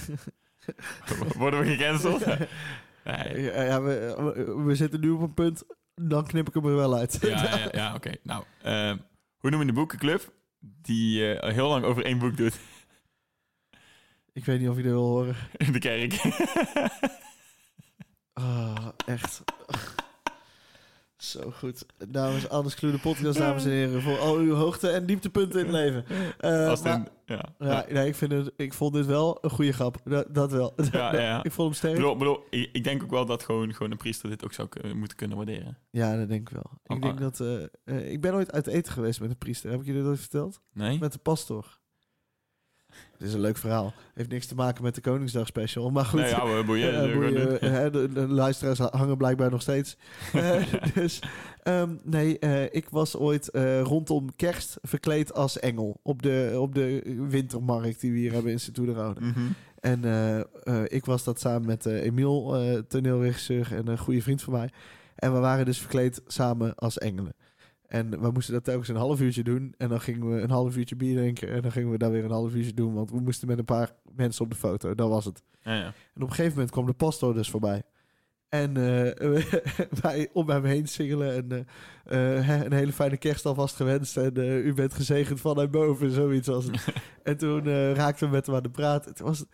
Worden we gecanceld? nee. eh, ja, ja, we, we- we zitten nu op een punt, dan knip ik hem er wel uit. Ja, ja, ja oké. Nou, ehm, hoe noem je de boekenclub? Die eh, heel lang over één boek doet. ik weet niet of je dat wil horen. In de kerk. Eh, Ah, echt. Zo goed. Dames, Anders Kluur, de podcast, dames en heren. Voor al uw hoogte- en dieptepunten in het leven. Eh, Als het maar- in- ja. ja, nee, ik, vind het, ik vond dit wel een goede grap. Dat, dat wel. Ja, ja, ja. Ik vond hem Ik sterk. bedoel, bedoel, ik, ik denk ook wel dat gewoon, gewoon een priester dit ook zou kun- moeten kunnen waarderen. Ja, dat denk ik wel. Ik Oh, oh. denk dat... eh, eh, ik ben ooit uit eten geweest met een priester. Heb ik jullie dat verteld? Nee? Met de pastoor. Het is een leuk verhaal. Heeft niks te maken met de Koningsdag special. Maar goed. Nee, ja, we boeien. Eh, we boeien, gewoon doen. hè, de, de luisteraars hangen blijkbaar nog steeds. Eh, dus ehm, nee, eh, ik was ooit eh, rondom kerst verkleed als engel op de, op de wintermarkt die we hier hebben in Sint Rode. Mhm. En eh, eh, ik was dat samen met eh, Emiel, eh, toneelregisseur en een goede vriend van mij. En we waren dus verkleed samen als engelen. En we moesten dat telkens een half uurtje doen. En dan gingen we een half uurtje bier drinken. En dan gingen we daar weer een half uurtje doen. Want we moesten met een paar mensen op de foto. Dat was het. Ja, ja. En op een gegeven moment kwam de pastoor dus voorbij. En eh, wij om hem heen singelen en eh, eh, hè, een hele fijne kerst alvast gewenst. En eh, u bent gezegend vanuit boven, zoiets was het. en toen eh, raakten we met hem aan de praat. Het was, het,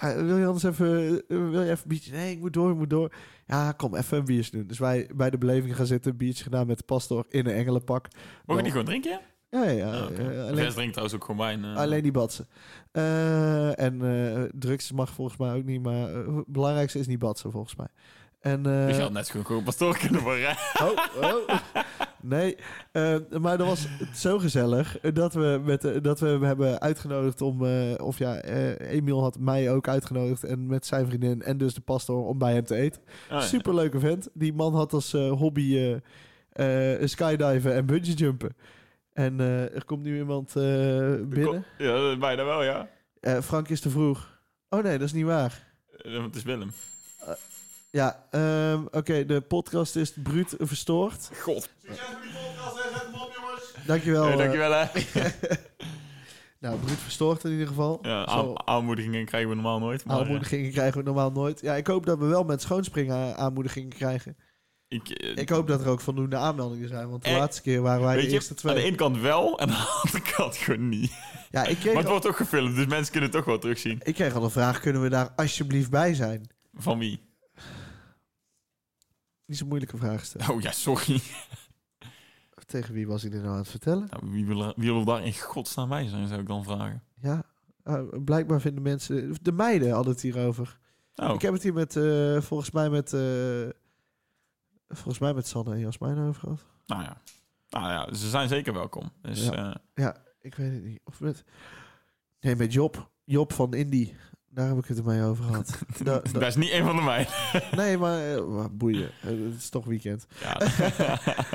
"Ja, wil je anders even, eh, wil je even een biertje? Nee, ik moet door, ik moet door. Ja, kom, even een biertje doen. Dus wij bij de beleving gaan zitten, een biertje gedaan met de pastoor in een engelenpak. Mogen we die gewoon drinken? Ja, Ja, ja, ja. Ah, oké. eh, De alleen, rest drinkt trouwens ook gewoon wijn. eh. Alleen die batsen. Eh, en eh, drugs mag volgens mij ook niet, maar eh, het belangrijkste is niet batsen volgens mij. En, eh, Dus je had net zo goed gewoon pastoor kunnen worden. Ah, oh, oh. Nee, eh, maar dat was zo gezellig eh, dat we, met, eh, dat we hem hebben uitgenodigd om... eh, of ja, eh, Emiel had mij ook uitgenodigd en met zijn vriendin en dus de pastoor om bij hem te eten. Ah, ja. Superleuke vent. Die man had als eh, hobby eh, eh, skydiven en bungee jumpen. En eh, er komt nu iemand eh, binnen. Ja, bijna wel, ja. Eh, Frank is te vroeg. Oh nee, dat is niet waar. Eh, Het is Willem. Ja, ehm, oké, de podcast is bruut verstoord. God. Succes met die podcast en zet hem op, jongens. Dankjewel. Eh, eh, dankjewel hè. nou, Bruut verstoord in ieder geval. Ja, Zo, aan- aanmoedigingen krijgen we normaal nooit. Maar, eh, aanmoedigingen krijgen we normaal nooit. Ja, ik hoop dat we wel met schoonspringen a- aanmoedigingen krijgen. ik, eh, Ik hoop dat er ook voldoende aanmeldingen zijn. Want de Eh, laatste keer waren wij de weet eerste je, twee. aan de ene kant wel en aan de andere kant gewoon niet. ja, ik Maar kreeg, het al, wordt ook gefilmd, dus mensen kunnen het toch wel terugzien. ik kreeg al een vraag. Kunnen we daar alsjeblieft bij zijn? Van wie? Niet zo'n moeilijke vraag stellen. Oh ja, sorry. Tegen wie was ik dit nou aan het vertellen? Nou, wie, wil, er- wie wil daar in godsnaam bij zijn, zou ik dan vragen. Ja, eh, blijkbaar vinden mensen... De meiden hadden het hierover. Oh, Ik heb het hier met, eh, volgens mij met... eh, volgens mij met Sanne en Jasmijn over gehad. nou ja. Nou ja, ze zijn zeker welkom. Dus, Ja. eh, Ik weet het niet. Of met... Nee, met Job. Job van Indie. Daar heb ik het ermee over gehad. Da- da- dat is niet een van de mij. nee, maar eh, maar boeien. Eh, Het is toch weekend. Ja.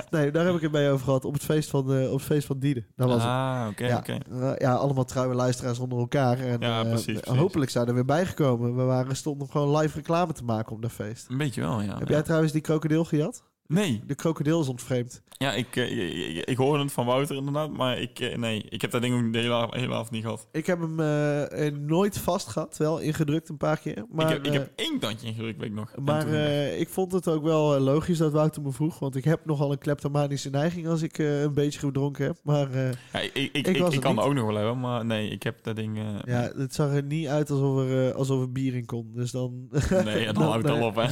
Nee, daar heb ik het mee over gehad. Op het feest van, eh op het feest van Diede. Daar was het. ah, oké, ja, oké. eh, ja, allemaal trouwe luisteraars onder elkaar. En, Ja, eh, precies, precies. Hopelijk zijn er weer bijgekomen. We waren, stonden gewoon live reclame te maken op dat feest. Een beetje wel, ja. Heb jij trouwens die krokodil gejat? Nee, De krokodil is ontvreemd. ja, ik, eh, ik, ik hoorde het van Wouter inderdaad, maar ik, eh, nee, ik heb dat ding ook de hele, av- hele avond niet gehad. Ik heb hem eh, eh, nooit vast gehad. Wel ingedrukt een paar keer. Maar, ik, heb, ik eh, heb één tandje ingedrukt, weet ik nog. En Maar toen- eh, ik vond het ook wel eh, logisch dat Wouter me vroeg. Want ik heb nogal een kleptomanische neiging als ik eh, een beetje gedronken heb. Maar eh, ja, ik, ik, ik, was ik het kan niet. het ook nog wel hebben, maar nee, ik heb dat ding... eh, ja, het zag er niet uit alsof er, eh, alsof er bier in kon. Dus dan... Nee, en dan houdt het al op, hè.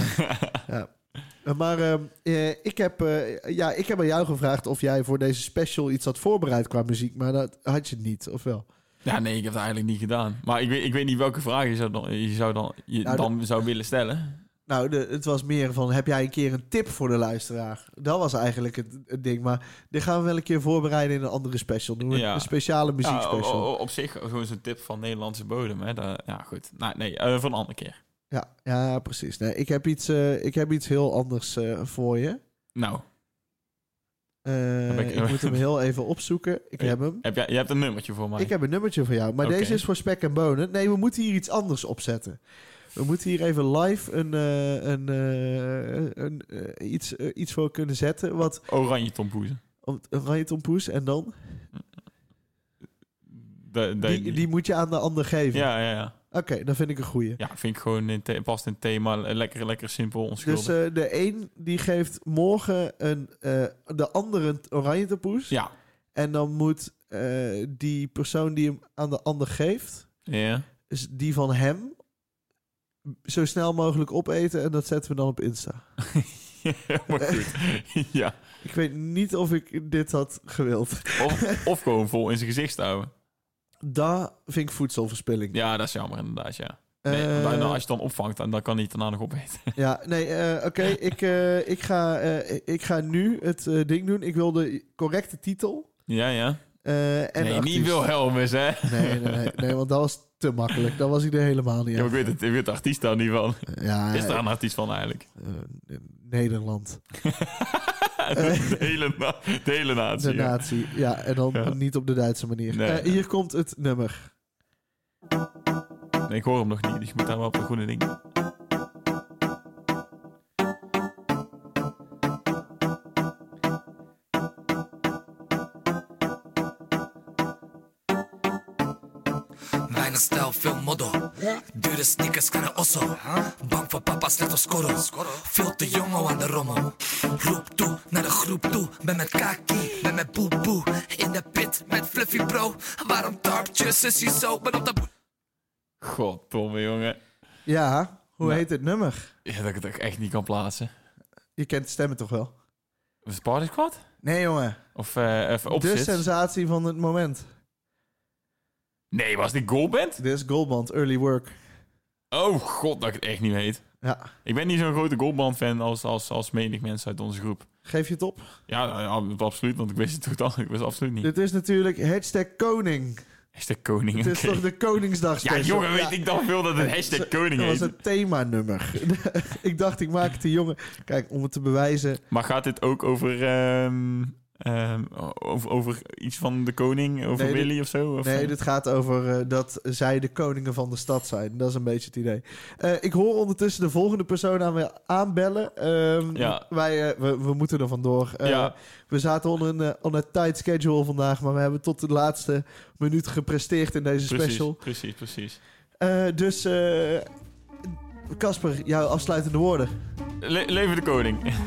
Eh, maar ehm, eh, ik, heb, eh, ja, ik heb aan jou gevraagd of jij voor deze special iets had voorbereid qua muziek. Maar dat had je niet, of wel? Ja, nee, ik heb het eigenlijk niet gedaan. Maar ik weet, ik weet niet welke vraag je zou dan, je zou dan, je Nou, dan zou willen stellen. Nou, de- het was meer van, heb jij een keer een tip voor de luisteraar? Dat was eigenlijk het, het ding. Maar dit gaan we wel een keer voorbereiden in een andere special. Doen we Ja. een speciale Ja, oh, o- muziekspecial. o- op zich gewoon zo'n tip van Nederlandse bodem, hè. Dat- ja, goed. Nou, nee, eh, voor een andere keer. Ja, ja precies. Nee, ik, heb iets, eh, ik heb iets heel anders eh, voor je. Nou, Eh, Heb ik- ik moet hem heel even opzoeken. Ik Ja. heb hem. heb jij, je hebt een nummertje voor mij. Ik heb een nummertje voor jou, maar Oké. deze is voor spek en bonen. Nee, we moeten hier iets anders opzetten. We moeten hier even live een, eh, een, eh, een, eh, iets, eh, iets voor kunnen zetten. Wat, Oranje tompoezen. om- oranje tompoes en dan? De, de- Die, die moet je aan de ander geven. Ja, ja, ja. Oké, dan vind ik een goeie. Ja, vind ik gewoon in the- past in het thema. Le- Lekker, lekker simpel, onschuldig. Dus eh, de een die geeft morgen een, eh, de andere een oranje tompoes. ja. En dan moet eh, die persoon die hem aan de ander geeft, Ja. dus die van hem, zo snel mogelijk opeten. En dat zetten we dan op Insta. maar goed. ja. Ik weet niet of ik dit had gewild. Of, of gewoon vol in zijn gezicht houden. Daar vind ik voedselverspilling. Ja, dat is jammer inderdaad, ja. Nee, Eh, want dan- als je het dan opvangt, dan dan kan hij het daarna nog opeten. ja, nee, eh, oké. ik, eh, ik, ga, eh, ik ga nu het eh, ding doen. Ik wil de correcte titel. ja, ja. eh, en nee, artiest. niet Wilhelmus, hè. Nee, nee, nee, nee, want dat was te makkelijk. Dat was ik er helemaal niet Ja, maar aan. ik weet het, ik weet de artiest daar niet van. Ja, Is daar een artiest van eigenlijk? eh, Nederland. de, hele na- de hele natie. De ja. natie. Ja, en dan Ja. niet op de Duitse manier. Nee. Eh, hier komt het nummer. Nee, ik hoor hem nog niet, dus je moet daar wel op de groene ding. Mijn stijl veel modder. Dure sneakers, kleine osso. Bang voor papa, slecht op scoren. Veel te jong al aan de rommel. Roep toe, naar de groep toe. Ben met kaki, ben met boe boe. In de pit, met fluffy bro. Waarom tarpjes, is hij zo? Ben op de... Goddomme, jongen. Ja, hoe Nou. heet het nummer? Ja, dat ik het ook echt niet kan plaatsen. Je kent de stemmen toch wel? Was het Party Squad? Nee, jongen. Of eh even de opzit? sensatie van het moment. Nee, was dit Goalband? Dit is Goldband, Early Work. Oh god, dat ik het echt niet weet. Ja, Ik ben niet zo'n grote Goalband-fan als, als, als menig mensen uit onze groep. geef je het op. Ja, nou, ja, absoluut, want ik wist het totaal. Ik wist het absoluut niet. Dit is natuurlijk hashtag koning. Hashtag koning, Het is oké. toch de Koningsdag Ja, jongen, weet ik dan veel dat het hashtag koning Dat was heet. het themanummer. ik dacht, ik maak het de jongen. Kijk, om het te bewijzen. Maar gaat dit ook over ehm, Ehm, over, over iets van de koning, over Nee, dit- Willy of zo? Of, Nee, eh, dit gaat over eh, dat zij de koningen van de stad zijn. Dat is een beetje het idee. Eh, ik hoor ondertussen de volgende persoon aan me aanbellen. Ehm, Ja. wij, eh, we, we moeten er vandoor. Eh, Ja. We zaten onder een, eh, onder een tight schedule vandaag, maar we hebben tot de laatste minuut gepresteerd in deze precies, special. Precies, precies. Eh, dus eh, Casper, jouw afsluitende woorden. Le- leven de koning.